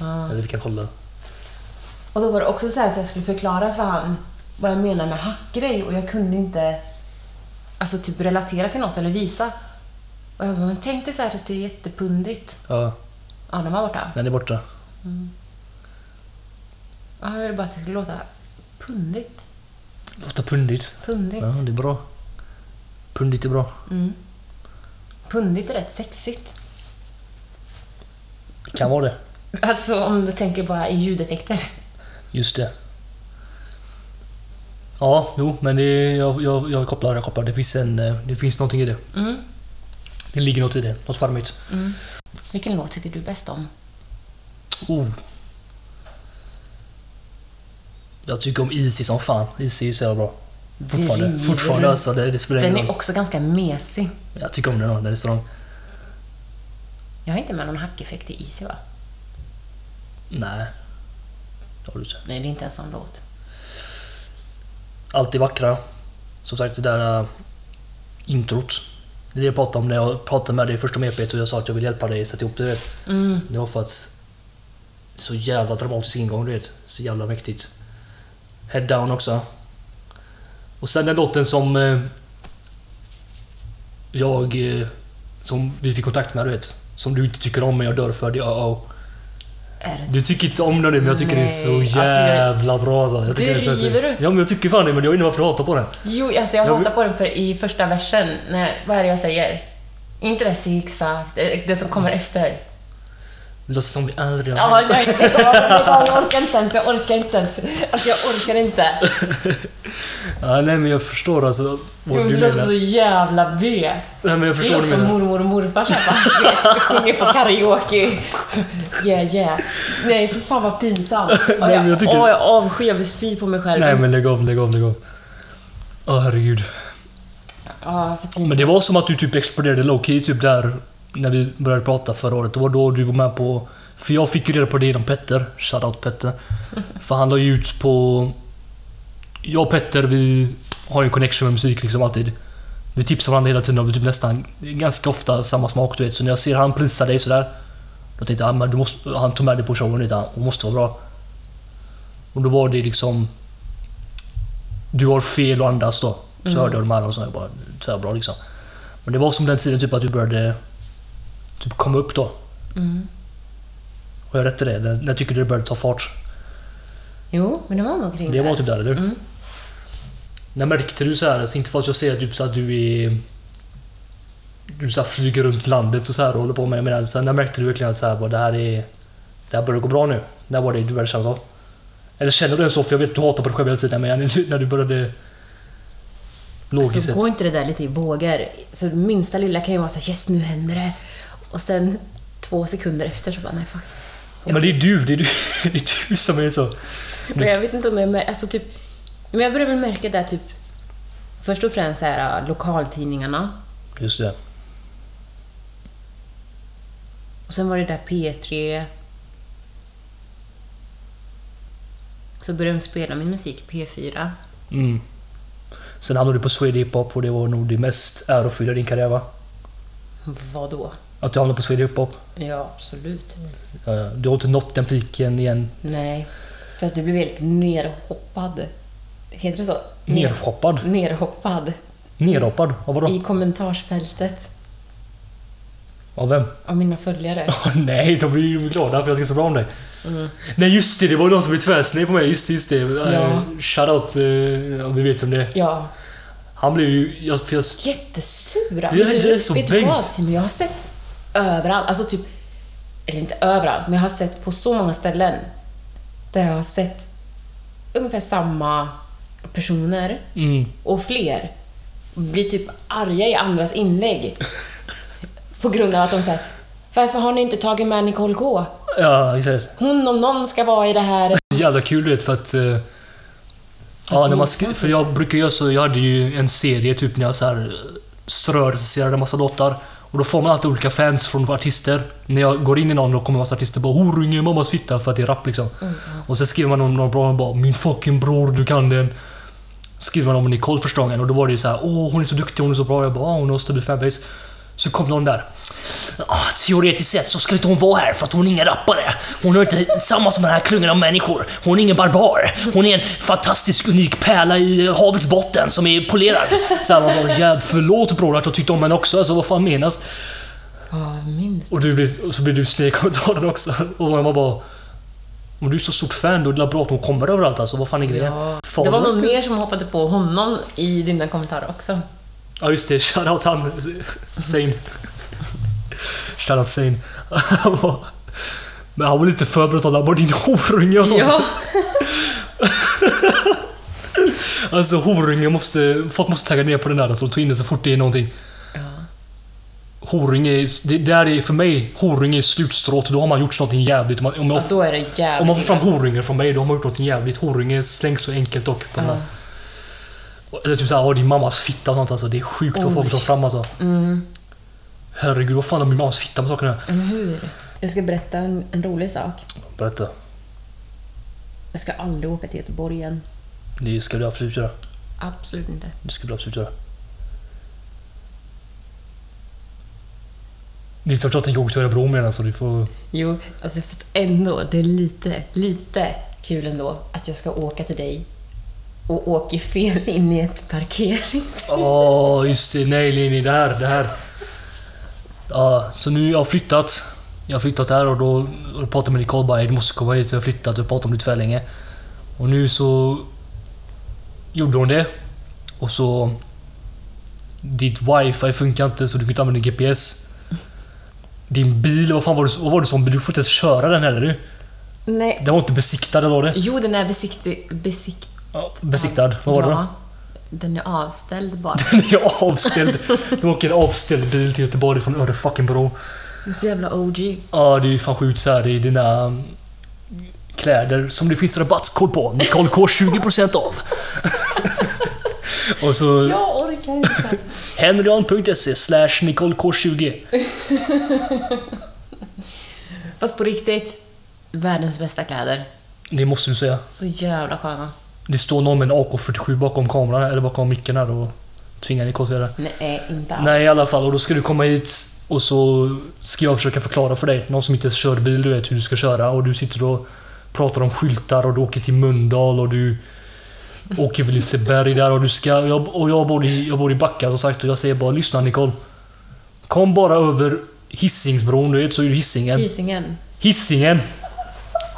S2: Ja.
S1: Eller vi kan kolla.
S2: Och då var det också så här att jag skulle förklara för han vad jag menar med hackgrej och jag kunde inte alltså typ relatera till något eller visa. Och jag bara, men tänk dig så här att det är jättepundigt.
S1: Ja,
S2: Ja, den var borta.
S1: den är borta.
S2: Ja, jag ville bara att det skulle låta pundigt.
S1: Låter pundigt.
S2: Pundigt.
S1: Ja, det är bra. Pundigt är bra.
S2: Mm. Pundigt är rätt sexigt.
S1: Kan vara det.
S2: [laughs] Alltså om du tänker bara i ljudeffekter.
S1: Just det. Ja, jo, men det är, jag, jag, jag kopplar, jag kopplar. Det finns, en, eh, det finns någonting i det.
S2: Mm.
S1: Det ligger något i det. Något charmigt.
S2: Vilken låt tycker du bäst om?
S1: Oh. Jag tycker om Easy som fan. Easy är ju så jävla bra. Fortfarande.
S2: Driver.
S1: Fortfarande alltså. Det, det spelar
S2: Den
S1: ingen
S2: är
S1: roll.
S2: också ganska mesig.
S1: Jag tycker om den. ja, Den är strong.
S2: Jag har inte med någon hackeffekt i Easy va?
S1: Nej. Det har du inte.
S2: Nej, det är inte en sån låt.
S1: Alltid vackra. Som sagt, det där uh, introt. Det är det jag pratade om när jag pratade med dig först om EPet och jag sa att jag vill hjälpa dig sätta ihop det. Du vet.
S2: Mm.
S1: Det var för att... Så jävla dramatisk ingång, du vet. Så jävla mäktigt. Head down också. Och sen den låten som... Eh, jag... Eh, som vi fick kontakt med, du vet. Som du inte tycker om, men jag dör för det. Oh, oh.
S2: Är det...
S1: Du tycker inte om den, men jag tycker det är
S2: Nej,
S1: så
S2: alltså jag-
S1: jävla bra. Alltså. Jag tycker det är-
S2: Driver du?
S1: Ja, men jag tycker fan det, men jag vet inte varför du hatar på den.
S2: Jo, alltså jag
S1: Jag
S2: hatar
S1: vill-
S2: på den för i första versen. När, vad är det jag säger? Inte det zigzag, det, det som kommer efter.
S1: Låtsas som vi aldrig har
S2: Ja,
S1: hänt.
S2: jag,
S1: [laughs]
S2: jag, jag, jag orkar inte ens, jag orkar inte ens. Alltså jag orkar inte.
S1: ja, Nej, men jag förstår alltså vad
S2: Du
S1: du
S2: låter
S1: menar.
S2: så jävla B.
S1: Nej, men jag
S2: Det
S1: förstår
S2: är
S1: vad du
S2: som
S1: menar.
S2: mormor och morfar som [laughs] sjunger på karaoke. Yeah, yeah. Nej, för fan vad pinsamt. Åh,
S1: [laughs] Nej, men
S2: jag,
S1: jag tycker-
S2: åh, jag avskyr, jag vill spy på mig själv.
S1: Nej, men lägg av, lägg av, lägg av. Åh, herregud.
S2: Ja, för pinsamt.
S1: Men det var som att du typ exploderade low key typ där när vi började prata förra året. Det var då du var med på... För jag fick ju reda på det genom Petter. Shoutout Petter. För han la ju ut på... Jag och Petter, vi har ju en connection med musik liksom alltid. Vi tipsar varandra hela tiden och vi typ nästan ganska ofta samma smak du vet. Så när jag ser han prisa dig sådär. Då tänkte jag ah, men du måste, han tog med dig på showen lite, hon måste vara bra. Och då var det liksom... Du har fel och andas då. Så hörde jag de här och så jag bara tvärbra liksom. Men det var som den tiden typ att du började typ komma upp då.
S2: Mm.
S1: Och jag rätte det. När, när tycker du det började ta fart?
S2: Jo, men det var nog kring
S1: Det
S2: där.
S1: var typ där, eller hur?
S2: Mm.
S1: När märkte du så här, alltså inte för att jag ser typ så att du är... Du så här flyger runt landet och så här och håller på med. Jag menar, så här, när märkte du verkligen att så här, bara, det här är... Det här börjar gå bra nu. När var det du började känna så? Eller känner du det så? För jag vet att du hatar på dig själv hela tiden, men när du, när du började... Logiskt
S2: Så
S1: sett.
S2: går inte det där lite i vågor. Så minsta lilla kan ju vara såhär yes nu händer det. Och sen två sekunder efter så bara nej fuck.
S1: Men det är du, det är du, [laughs] det är du som är så.
S2: [laughs] Men jag vet inte om jag mär- alltså typ Men jag börjar väl märka det här, typ Först och främst så här, lokaltidningarna.
S1: Just det.
S2: Och sen var det där P3. Så började de spela min musik, P4.
S1: Mm. Sen hamnade du på Swede Hiphop och det var nog det mest ärofyllda i din karriär va?
S2: Vadå?
S1: Att du hamnade på Swede Hiphop.
S2: Ja, absolut.
S1: Eh, Du har inte nått den piken igen.
S2: Nej. För att du blev helt nerhoppad. Heter det så?
S1: Nershoppad.
S2: Nerhoppad.
S1: Nerhoppad? Av vadå?
S2: I kommentarsfältet.
S1: Av vem? [laughs]
S2: Av mina följare.
S1: Åh, nej, de blir ju glada för att jag ska så bra om dig. Nej just det, det var ju någon som blev tvärsned på mig. Just det, just det.
S2: Ja.
S1: Ja. Shoutout, eh, ja, vi vet vem det är.
S2: Ja.
S1: Han blev ju... Jag, för jag,
S2: Jättesura.
S1: Det är-
S2: Vet du-
S1: det är så
S2: Vet du vad
S1: bängt.
S2: Simon? Jag har sett överallt, alltså typ, eller inte överallt, men jag har sett på så många ställen där jag har sett ungefär samma personer
S1: mm.
S2: och fler bli typ arga i andras inlägg. på grund av att de säger varför har ni inte tagit med Nicole K?
S1: Ja, exakt.
S2: Hon om någon ska vara i det här.
S1: Jävla kul du vet för att... eh, ja, när man skri- för jag brukar göra så, jag hade ju en serie typ när jag så här eh, strörecenserade en massa låtar. Och då får man alltid olika fans från artister. När jag går in i någon och kommer en massa artister bara “Horunge, mammas fitta” för att det är rap liksom. Och sen skriver man om någon bra och bara “Min fucking bror, du kan den”. Skriver man om Nicole första gången och då var det ju så här “Åh, hon är så duktig, hon är så bra”. Jag bara “Åh, hon har stabil fanbase”. Så kom någon där. Ah, teoretiskt sett så ska inte hon vara här för att hon är ingen rappare. Hon är inte samma som den här klungan av människor. Hon är ingen barbar. Hon är en fantastisk unik pärla i eh, havets botten som är polerad. Så här, man bara, jäv, förlåt bror att jag tyckte om henne också. Alltså vad fan menas?
S2: Ja, minst.
S1: Och, du blir, och så blir du sned i kommentaren också. Och man bara... Om du är så stort fan då är det bra att hon kommer överallt alltså. Vad fan är grejen? Fan,
S2: Det var någon mer som hoppade på honom i dina kommentarer också.
S1: Ja just det, shoutout han. Zain. shoutout Zain. Han var- [laughs] Men han var lite förberedd han bara din horunge och sånt.
S2: Ja.
S1: Alltså horunge måste, folk måste tagga ner på den där alltså, och ta in den så fort det är någonting.
S2: ja.
S1: Horunge, är- det där är för mig, horunge är slutstrået. Då har man gjort någonting jävligt. Om man, om jag,
S2: Ja, då är det jävligt
S1: om man får fram horunge från mig, då har man gjort någonting jävligt. Horunge slängs så enkelt dock. På den
S2: Ja.
S1: där. Eller typ såhär, "Åh, din mammas fitta och sånt alltså. Det är sjukt vad folk tar fram alltså.
S2: Mm.
S1: Herregud, vad fan har min mammas fitta med sakerna
S2: Eller hur? Jag ska berätta en, en rolig sak.
S1: Berätta.
S2: Jag ska aldrig åka till Göteborg igen.
S1: Det ska du absolut göra.
S2: Absolut inte.
S1: Det ska du absolut göra. Det är klart jag tänker åka till Örebro med den så du får...
S2: Jo, alltså fast ändå. Det är lite, lite kul ändå att jag ska åka till dig och åker fel in i ett parkerings...
S1: Åh, just det. Nej, nej, nej. Det här, det här. Ja, så nu jag har flyttat. Jag har flyttat här och då och jag pratade med Nicole bara, "Hey, du måste komma hit. Jag har flyttat och pratat om det för länge. Och nu så gjorde hon det. Och så... Ditt wifi funkar inte så du kan inte använda GPS. Din bil, vad fan var det, vad var det som bil? Du får inte ens köra den heller du.
S2: Nej.
S1: Den var inte besiktad, eller var det?
S2: Jo, den är besiktig... Besikt...
S1: Ja, Besiktad. Vad var det [laughs]
S2: ja,
S1: då?
S2: Den är avställd bara.
S1: Den är avställd. De åker en avställd bil till Göteborg från Örefuckingbro.
S2: Det är så jävla OG.
S1: Ja, det är ju fan sjukt så här i dina mm, kläder som det finns rabattkod på. Nicole K 20% av. [laughs] Och så
S2: Jag orkar inte.
S1: henryan.se slash Nicole K 20.
S2: Fast på riktigt, världens bästa kläder.
S1: Det måste du säga.
S2: Så jävla sköna.
S1: Det står någon med en AK47 bakom kameran, eller bakom micken här och tvingar Nicole till det.
S2: Nej, inte alls.
S1: Nej i alla fall, och då ska du komma hit och så ska jag försöka förklara för dig, någon som inte kör bil, du vet hur du ska köra och du sitter och pratar om skyltar och du åker till Mölndal och du åker till Liseberg där och du ska... och Jag, och jag bor i, jag bor i Backa som sagt och jag säger bara lyssna Nicole. Kom bara över Hisingsbron, du vet, så är det Hisingen.
S2: Hisingen.
S1: Hisingen!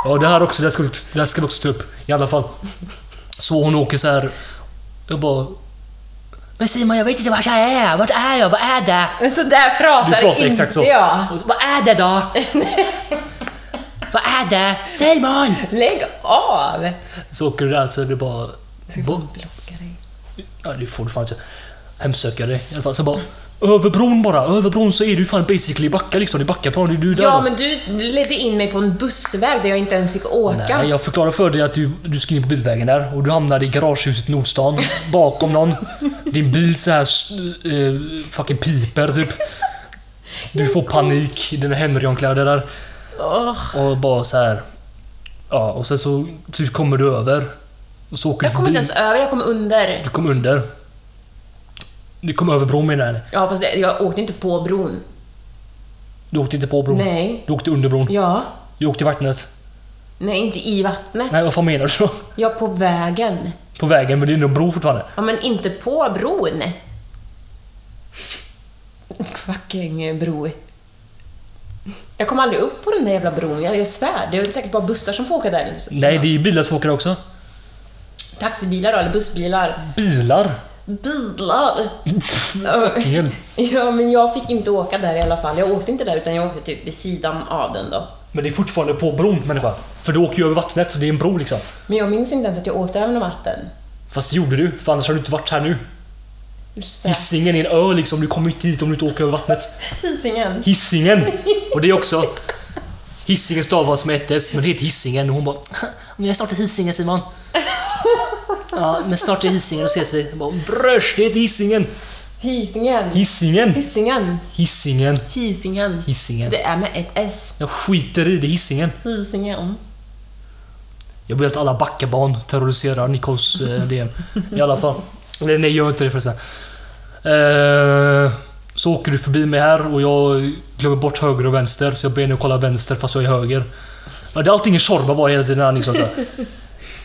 S1: Ja, det här också, det här ska, du- det här ska du också ta upp. I alla fall. Så hon åker så här. Jag bara... Men Simon, jag vet inte vart jag är. Vart är jag? Vad är det?
S2: Så där pratar,
S1: Du pratar
S2: inte
S1: exakt så.
S2: jag.
S1: Och så, Vad är det
S2: [laughs]
S1: då? Vad är det? Simon!
S2: Lägg av!
S1: Så åker du där så är det bara...
S2: Jag ska
S1: Bo-
S2: blocka dig.
S1: Ja, det får du fan inte. Hemsöka dig i alla fall. Så bara... Över bron bara, över bron så är du ju fan basically i Backa liksom. I Backaplan, det är du där
S2: Ja,
S1: då.
S2: men du ledde in mig på en bussväg där jag inte ens fick åka.
S1: Nej, jag förklarar för dig att du, du ska in på bilvägen där och du hamnar i garagehuset i Nordstan, bakom någon. Din bil så här eh, fucking piper typ. Du får panik i dina Henry-kläder där
S2: Åh,
S1: och bara så här. Ja, och sen så typ kommer du över. Och så åker
S2: jag
S1: du
S2: kom
S1: förbi.
S2: inte ens över, jag kom under.
S1: Du kom under. Du kom över bron menar jag.
S2: Ja, fast det- jag åkte inte på bron.
S1: Du åkte inte på bron.
S2: Nej.
S1: Du åkte under bron.
S2: Ja.
S1: Du åkte i vattnet.
S2: Nej, inte i vattnet.
S1: Nej, vad fan menar du då?
S2: Jag på vägen.
S1: På vägen, men det är ändå en bro fortfarande.
S2: Ja, men inte på bron. Fucking bro. Jag kom aldrig upp på den där jävla bron, jag, jag svär. Det är säkert bara bussar som får åka där. liksom. eller så.
S1: Nej, det är bilar som åker där också.
S2: Taxibilar då, eller bussbilar.
S1: Bilar?
S2: Bilar! [laughs]
S1: Fel.
S2: ja, men jag fick inte åka där i alla fall. Jag åkte inte där, utan jag åkte typ vid sidan av den då.
S1: Men det är fortfarande på bron människa. För du åker ju över vattnet, så det är en bro liksom.
S2: Men jag minns inte ens att jag åkte över vatten.
S1: Fast det gjorde du, för annars har du inte varit här nu.
S2: Så-
S1: Hisingen är en ö liksom, du kommer inte hit om du inte åker över vattnet.
S2: Hisingen.
S1: Hisingen! Och det också. Hisingen stavas med ett S, men det heter Hisingen och hon bara Men jag startar Hisingen Simon. Ja, men starta Hisingen och ses vi. Jag bara, Brösch, det heter Hisingen!
S2: Hisingen.
S1: Hisingen!
S2: Hisingen.
S1: Hisingen!
S2: Hisingen.
S1: Hisingen.
S2: Det är med ett S.
S1: Jag skiter i det, Hisingen.
S2: Hisingen.
S1: Jag vill att alla backabarn terroriserar Nikols eh, DM. I alla fall. Eller nej, gör inte det förresten. Eh, så åker du förbi mig här och jag glömmer bort höger och vänster, så jag ber dig att kolla vänster fast jag är höger. Ja, det är allting i Tjorva bara hela tiden här liksom. så här.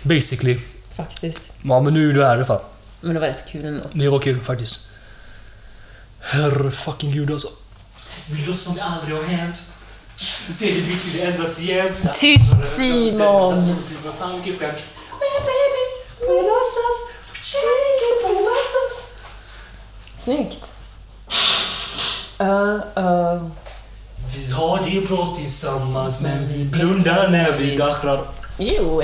S1: Basically.
S2: Faktiskt.
S1: Ja, men nu är du här i alla fall.
S2: Men det var rätt kul ändå.
S1: Det var kul faktiskt. Herre fucking gud alltså. Vi låtsas som det aldrig har hänt. Du ser hur ditt vill ändras igen.
S2: Tyst, Simon! Snyggt. Uh, uh.
S1: Vi har det bra tillsammans men vi blundar när vi gachrar.
S2: Jo.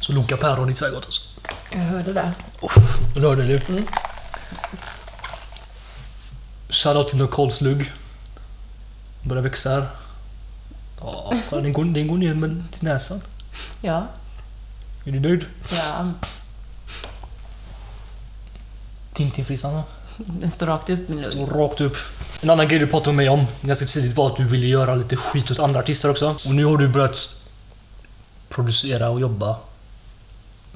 S1: Så Loka Päron i Tvärgatan alltså.
S2: Jag hörde det.
S1: Och då hörde du.
S2: Mm.
S1: Shoutout till Nicoles lugg. Börjar växa här. Ja, fan, den, går, den går ner men till näsan.
S2: Ja.
S1: Är du nöjd?
S2: ja.
S1: Tintinfrissan va?
S2: Den står rakt upp min lugg.
S1: Står rakt upp. En annan grej du pratade med mig om ganska tidigt var att du ville göra lite skit åt andra artister också. Och nu har du börjat producera och jobba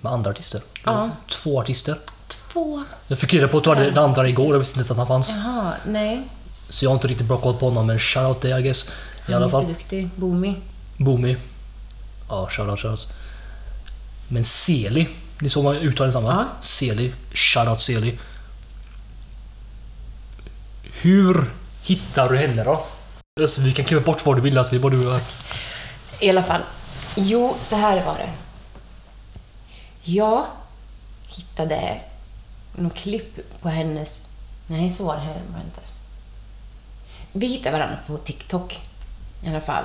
S1: med andra artister. Du har
S2: Ja.
S1: Två artister.
S2: Två.
S1: Jag fick reda på att du hade den andra igår, jag visste inte att han fanns.
S2: Jaha, nej.
S1: Så jag har inte riktigt bra koll på honom, men shoutout dig I guess. I
S2: Han är
S1: alla fall.
S2: jätteduktig. Boomy.
S1: Boomy. Ja, shoutout, shoutout. Men Seli, det är så man uttalar det samma.
S2: Ja.
S1: Seli. Shoutout Seli. Hur hittar du henne då? Alltså, vi kan klippa bort vad du vill, alltså, det är bara du och jag.
S2: I alla fall. Jo, så här var det. Jag hittade något klipp på hennes... Nej, så var det här var det inte. Vi hittade varandra på TikTok i alla fall.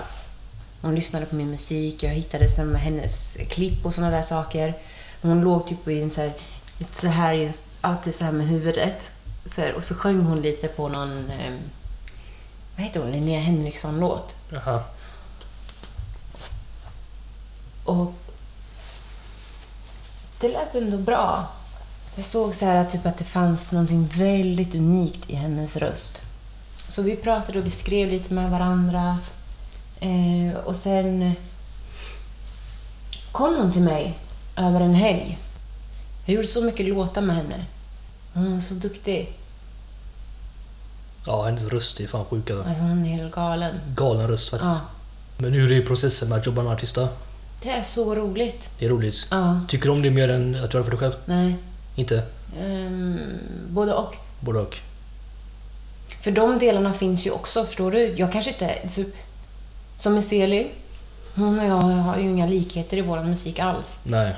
S2: Hon lyssnade på min musik, jag hittade sen med hennes klipp och sådana där saker. Hon låg typ i en så här, lite så här, i en, ja, typ så här med huvudet. Så här, och så sjöng hon lite på någon... Eh, vad heter hon? Linnea Henriksson-låt.
S1: Aha.
S2: Och det lät ändå bra. Jag såg så här, typ att det fanns någonting väldigt unikt i hennes röst. Så vi pratade och vi skrev lite med varandra. Eh, och sen kom hon till mig över en helg. Jag gjorde så mycket låtar med henne. Hon var så duktig.
S1: Ja, hennes röst är fan sjuk alltså.
S2: Alltså, Hon är helt galen.
S1: Galen röst faktiskt.
S2: Ja.
S1: Men hur är processen med att jobba med en artist då?
S2: Det är så roligt.
S1: Det är roligt.
S2: Ja.
S1: Tycker du om det mer än att göra det för dig själv?
S2: Nej.
S1: Inte?
S2: Ehm, både och.
S1: Både och.
S2: För de delarna finns ju också, förstår du? Jag kanske inte... Så, som med Seli, hon och jag har ju inga likheter i vår musik alls.
S1: Nej.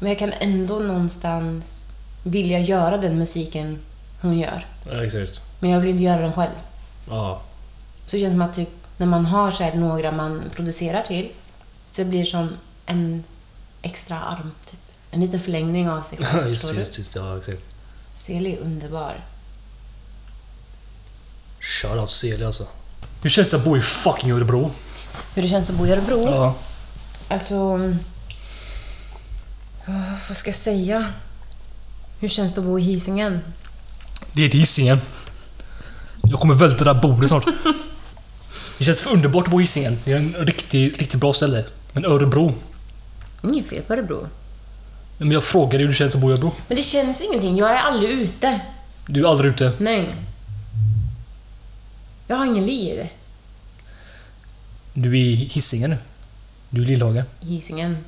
S2: Men jag kan ändå någonstans vilja göra den musiken hon gör.
S1: Ja, exakt.
S2: Men jag vill inte göra den själv.
S1: Ja. [laughs]
S2: Så det känns som att typ, när man har så här några man producerar till så blir det som en extra arm. Typ. En liten förlängning av sig själv.
S1: just,
S2: förstår du?
S1: just, just, ja exakt.
S2: Seli är underbar.
S1: Shoutout Seli alltså. Hur känns det att bo i fucking Örebro?
S2: Hur det känns att bo i Örebro?
S1: Ja.
S2: Alltså... åh, Vad ska jag säga? Hur känns det att bo i Hisingen?
S1: Det är till Hisingen. Jag kommer välta det där bordet snart. Det känns för underbart att bo i Hisingen. Det är en riktigt, riktigt bra ställe. Men Örebro?
S2: Inget fel på Örebro.
S1: Men jag frågade hur det känns att bo i Örebro.
S2: Men det känns ingenting. Jag är aldrig ute.
S1: Du är aldrig ute.
S2: Nej. Jag har ingen liv
S1: Du är i Hisingen nu. Du är i Lillhagen.
S2: i Hisingen.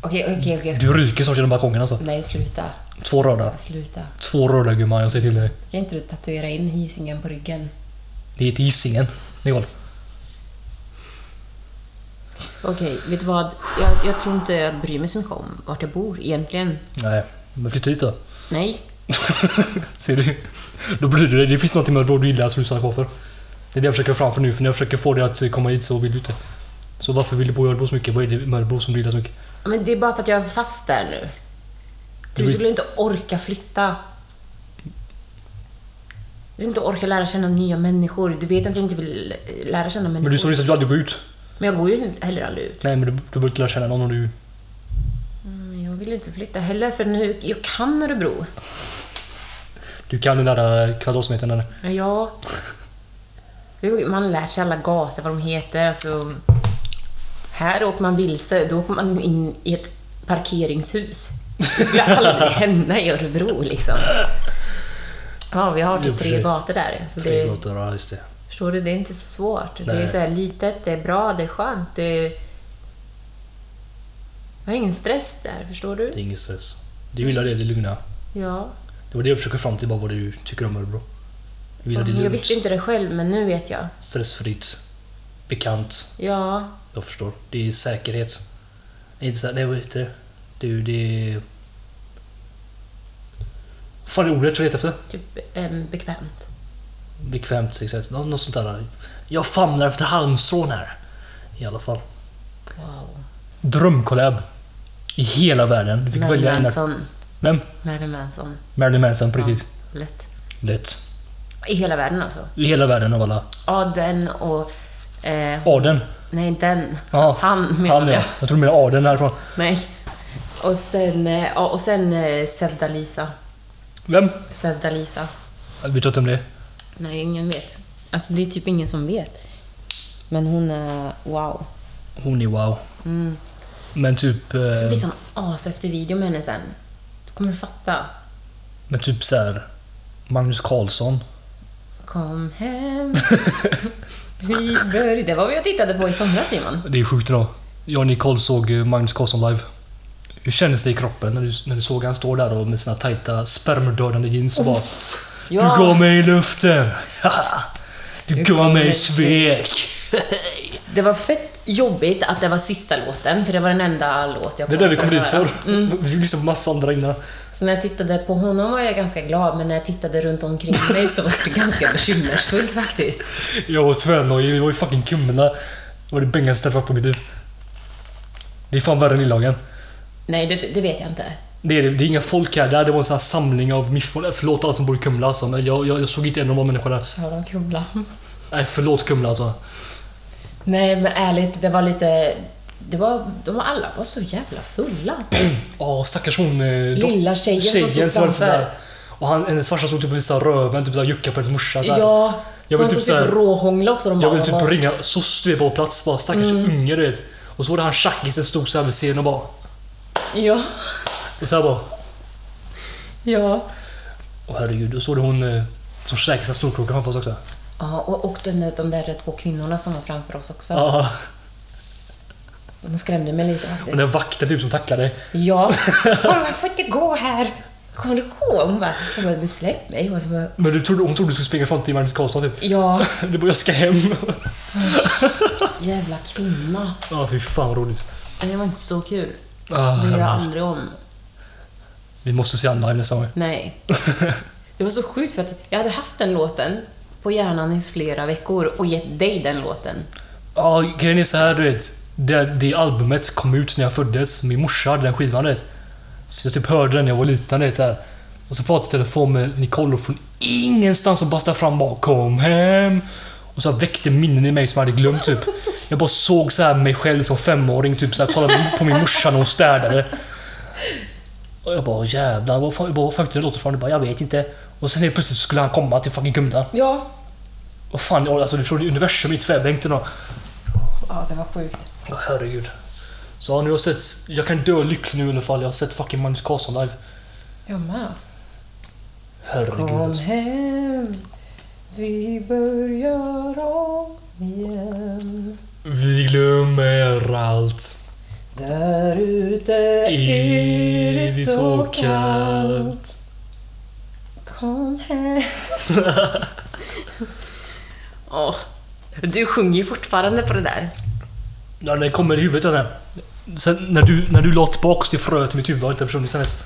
S2: Okej, okej, okej. jag ska...
S1: Du ryker snart genom balkongen alltså.
S2: Nej, sluta.
S1: Två röda.
S2: Sluta.
S1: Två röda gumman, jag säger till dig.
S2: Kan inte du tatuera in Hisingen på ryggen?
S1: Det är till Hisingen. Nicole.
S2: Okej, vet du vad? Jag, jag tror inte jag bryr mig så mycket om vart jag bor egentligen.
S1: Nej, men flytta hit då.
S2: Nej.
S1: Ser du? Då bryr du dig. Det finns något med Örebro du gillar som du stannar kvar för. Det är det jag försöker få framför nu, för när jag försöker få dig att komma hit så vill du inte. Så varför vill du bo i Örebro så mycket? Vad är det med Örebro som du gillar så mycket?
S2: Ja, Men det är bara för att jag är fast där nu. Du
S1: blir-
S2: skulle inte orka flytta. Du skulle inte orka lära känna nya människor. Du vet att jag inte vill lära känna människor.
S1: Men du sa nyss att du aldrig går ut.
S2: Men jag går ju heller aldrig ut.
S1: Nej, men du, du borde inte lära känna någon om du...
S2: Men Jag vill inte flytta heller för nu, jag kan Örebro.
S1: Du kan den där eh, kvadratmetern eller?
S2: Ja. Man har lärt sig alla gator, vad de heter. Alltså, här åker man vilse, då åker man in i ett parkeringshus. Det
S1: [laughs]
S2: skulle aldrig hända i Örebro liksom. Ja, vi har
S1: Jo,
S2: typ
S1: för
S2: tre
S1: sig.
S2: gator där. Så
S1: Tre
S2: det,
S1: gator, ja just det.
S2: förstår du, det är inte så svårt. Det är
S1: Nej.
S2: så här litet, det är bra, det är skönt. Det är... Jag har ingen stress där, förstår du?
S1: Det är ingen stress. Du gillar det, det lugna.
S2: Ja.
S1: Det var det jag försökte fram till, bara vad du tycker om Örebro. Du gillar det
S2: Jag
S1: lugnt,
S2: visste inte det själv, men nu vet jag.
S1: stressfritt, bekant.
S2: Ja,
S1: Jag förstår. Det är säkerhet. Det är inte så här, nej vad heter det? Du, det är... Fan, det är ordet jag letar efter.
S2: typ em, bekvämt.
S1: Bekvämt, exakt. Nå- Något sånt där. Jag famlar efter halmstrån här. I alla fall.
S2: Wow.
S1: Drömkollab. I hela världen. Du fick välja en där.
S2: Manson.
S1: Vem?
S2: Marilyn Manson.
S1: Marilyn Manson, på riktigt.
S2: Lätt.
S1: Lätt.
S2: I hela världen alltså.
S1: I hela världen av alla.
S2: Ja, den och... Eh,
S1: Aden.
S2: nej, den.
S1: Ja,
S2: Han menar
S1: Han
S2: jag.
S1: ja. Jag tror du menar Aden härifrån.
S2: Nej. Och sen, eh, ja, och sen eh, Sevda-Lisa.
S1: Vem?
S2: Sevda-Lisa.
S1: Jag vet inte vem det är.
S2: Nej, ingen vet. Alltså, det är typ ingen som vet. Men hon är wow.
S1: Hon är wow.
S2: Mm.
S1: Men typ... eh,
S2: Så finns det en ashäftig video med henne sen. Du kommer du fatta.
S1: Men typ så här. Magnus Carlsson.
S2: Kom
S1: [laughs]
S2: hem. Vi började. Det var vad jag tittade på i somras, Simon.
S1: Det är sjukt idag. Jag och Nicole såg eh, Magnus Carlsson live. Hur kändes det i kroppen när du, när du såg han stå där och med sina tajta spermdödande jeans och bara... Du gav mig luften! [laughs] Du, gav mig svek!
S2: Det var fett jobbigt att det var sista låten, för det var den enda låt jag
S1: Det är det vi kom
S2: att
S1: dit
S2: höra.
S1: för. [laughs] Vi fick liksom massa andra innan.
S2: Så när jag tittade på honom var jag ganska glad, men när jag tittade
S1: [laughs]
S2: runt omkring mig så var det ganska bekymmersfullt faktiskt.
S1: Jag var tvärnojig. Vi var i fucking Kumla. Det var det bängaste stället jag varit på mitt liv. Det är fan värre än Lillhagen.
S2: Nej, det, det vet jag inte.
S1: Det är, det är inga folk här. Det här var en sån här samling av miffon. Förlåt alla som bor i Kumla alltså, men jag, jag, jag såg inte en normal människa där.
S2: Tar de Kumla?
S1: Nej, förlåt Kumla alltså.
S2: Nej, men ärligt, det var lite... Det var, de var alla var så jävla fulla.
S1: Ja, stackars hon... eh, dot-
S2: Lilla tjejen som stod
S1: var
S2: framför.
S1: sådär. Och han, hennes farsa stod typ och visade röven, typ såhär juckade på hennes morsa. såhär.
S2: Ja,
S1: Jag
S2: de
S1: vill
S2: stod
S1: typ
S2: typ,
S1: såhär-
S2: råhångla också. De
S1: Jag
S2: bara,
S1: ville typ
S2: vad-
S1: ringa soc du vet, på plats bara. Stackars
S2: Mm.
S1: unge du vet. Och så var det han tjackisen stod såhär vid scenen och bara...
S2: Ja,
S1: Och såhär bara...
S2: ja.
S1: Åh herregud. Och så var det hon eh, som käkade sina storkrokar framför oss också.
S2: Ja, och, och den där, de där två kvinnorna som var framför oss också.
S1: Ja.
S2: De skrämde mig lite faktiskt.
S1: Och den vakten typ som tacklade.
S2: [laughs] Ja. Hon bara, får inte gå här. Kommer du ihåg? Hon bara, hon bara, men släpp mig. Och så bara,
S1: Men du trodde, hon trodde du skulle springa fram till Magnus Karlsson typ.
S2: ja,
S1: [laughs] Du bara, jag ska hem.
S2: jävla kvinna.
S1: [laughs] Ja, fy fan vad roligt.
S2: Men Det var inte så kul.
S1: Ah,
S2: Det gör jag
S1: herregud.
S2: aldrig om.
S1: Vi måste se han live nästa gång. [laughs]
S2: Nej. Det var så sjukt för att jag hade haft den låten på hjärnan i flera veckor och gett dig den låten.
S1: Ja, grejen är så här du vet. det, det albumet kom ut när jag föddes. Min morsa hade den skivan. du Vet. Så jag typ hörde den när jag var liten. du Vet, så här. Och så pratade jag i telefon med Nicole och från ingenstans och bastade fram bara Kom hem! Och så här väckte minnen i mig som jag hade glömt typ. Jag bara såg så här mig själv som femåring typ så här, kollade på min morsa när hon städade. Och jag bara jävlar, vad fan, jag bara, vad fan det låter från? Jag bara jag vet inte. Och sen helt plötsligt skulle han komma till fucking Kumla.
S2: Ja.
S1: Vad fan, jag- alltså du tror det är universum i typ. tvärbänken då.
S2: Ja, det var sjukt.
S1: Åh herregud. Så ja, nu har jag sett, jag kan dö lycklig nu i alla fall. Jag har sett fucking Magnus Carlsson live.
S2: Jag med.
S1: Herregud.
S2: Kom
S1: alltså.
S2: hem, vi börjar om igen.
S1: Vi glömmer allt.
S2: Där ute är det så kallt. Kom hem. [laughs] Åh, du sjunger ju fortfarande på det där.
S1: Ja, det kommer i huvudet den här. Sen när du, när du la tillbaks det fröet i mitt huvud har inte försvunnit sen dess.